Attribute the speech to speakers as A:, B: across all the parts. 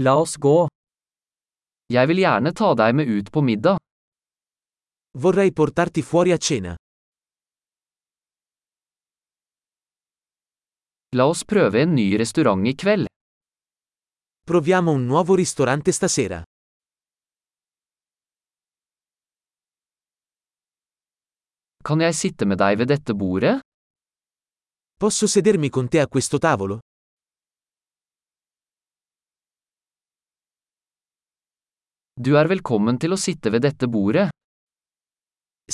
A: La oss gå. Jeg vil gjerne ta deg med ut på middag.
B: Vorrei portarti fuori a cena.
A: La oss prøve en ny restaurant i kveld.
B: Proviamo un nuovo ristorante stasera.
A: Kan jeg sitte med deg ved dette bordet?
B: Posso sedermi con te a questo tavolo?
A: Du er velkommen til å sitte ved dette bordet.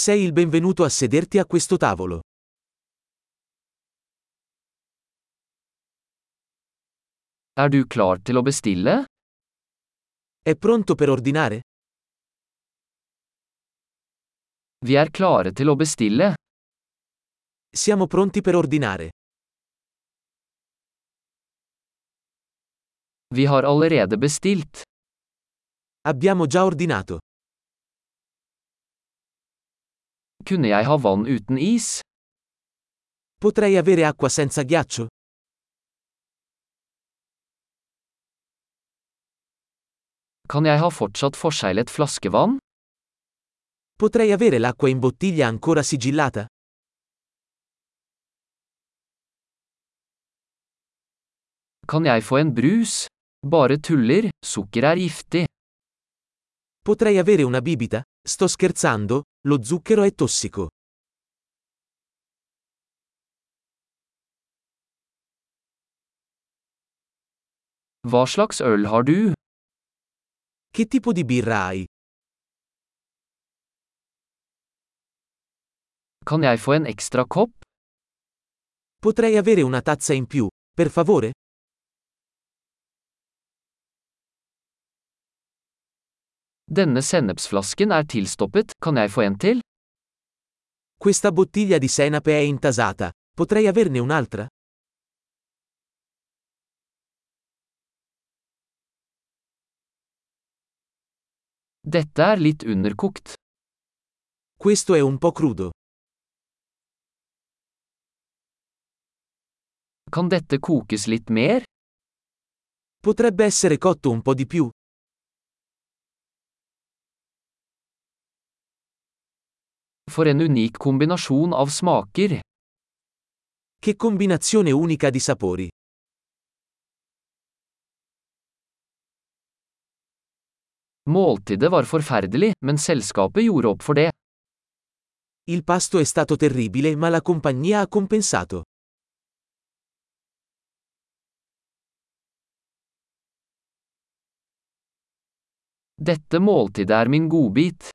B: Sei il benvenuto a sederti a questo tavolo.
A: Er du klar til å bestille?
B: È pronto per ordinare?
A: Vi er klare til å bestille.
B: Siamo pronti per ordinare.
A: Vi har allerede bestilt.
B: Abbiamo già ordinato.
A: Kunne jeg ha vann uten is?
B: Potrei avere acqua senza ghiaccio?
A: Kan jeg ha fortsatt forseglet flaskevann?
B: Potrei avere l'acqua in bottiglia ancora sigillata?
A: Kan jeg få en brus? Bare tuller, sukker er giftig.
B: Potrei avere una bibita? Sto scherzando, lo zucchero è tossico.
A: Hva slags øl har du?
B: Che tipo di birra hai?
A: Kan jeg få en ekstra kopp?
B: Potrei avere una tazza in più, per favore?
A: Denne sennepsflasken er tilstoppet, kan jeg få en til?
B: Questa bottiglia di senape è intasata. Potrei averne un'altra?
A: Dette er litt underkokt.
B: Questo è un po' crudo.
A: Kan dette kokes litt mer?
B: Potrebbe essere cotto un po' di più.
A: For en unik kombinasjon av smaker.
B: Che combinazione unica di sapori.
A: Måltidet var forferdelig, men selskapet gjorde opp for det.
B: Il pasto è stato terribile ma la compagnia ha compensato.
A: Dette måltidet er min godbit.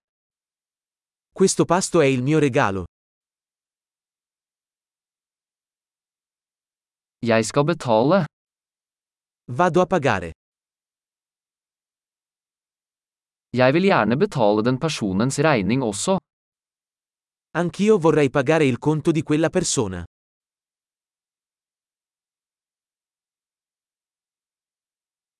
B: Questo pasto è il mio regalo.
A: Jeg skal betale.
B: Vado a pagare.
A: Jeg vil gjerne betale den personens regning også.
B: Anch'io vorrei pagare il conto di quella persona.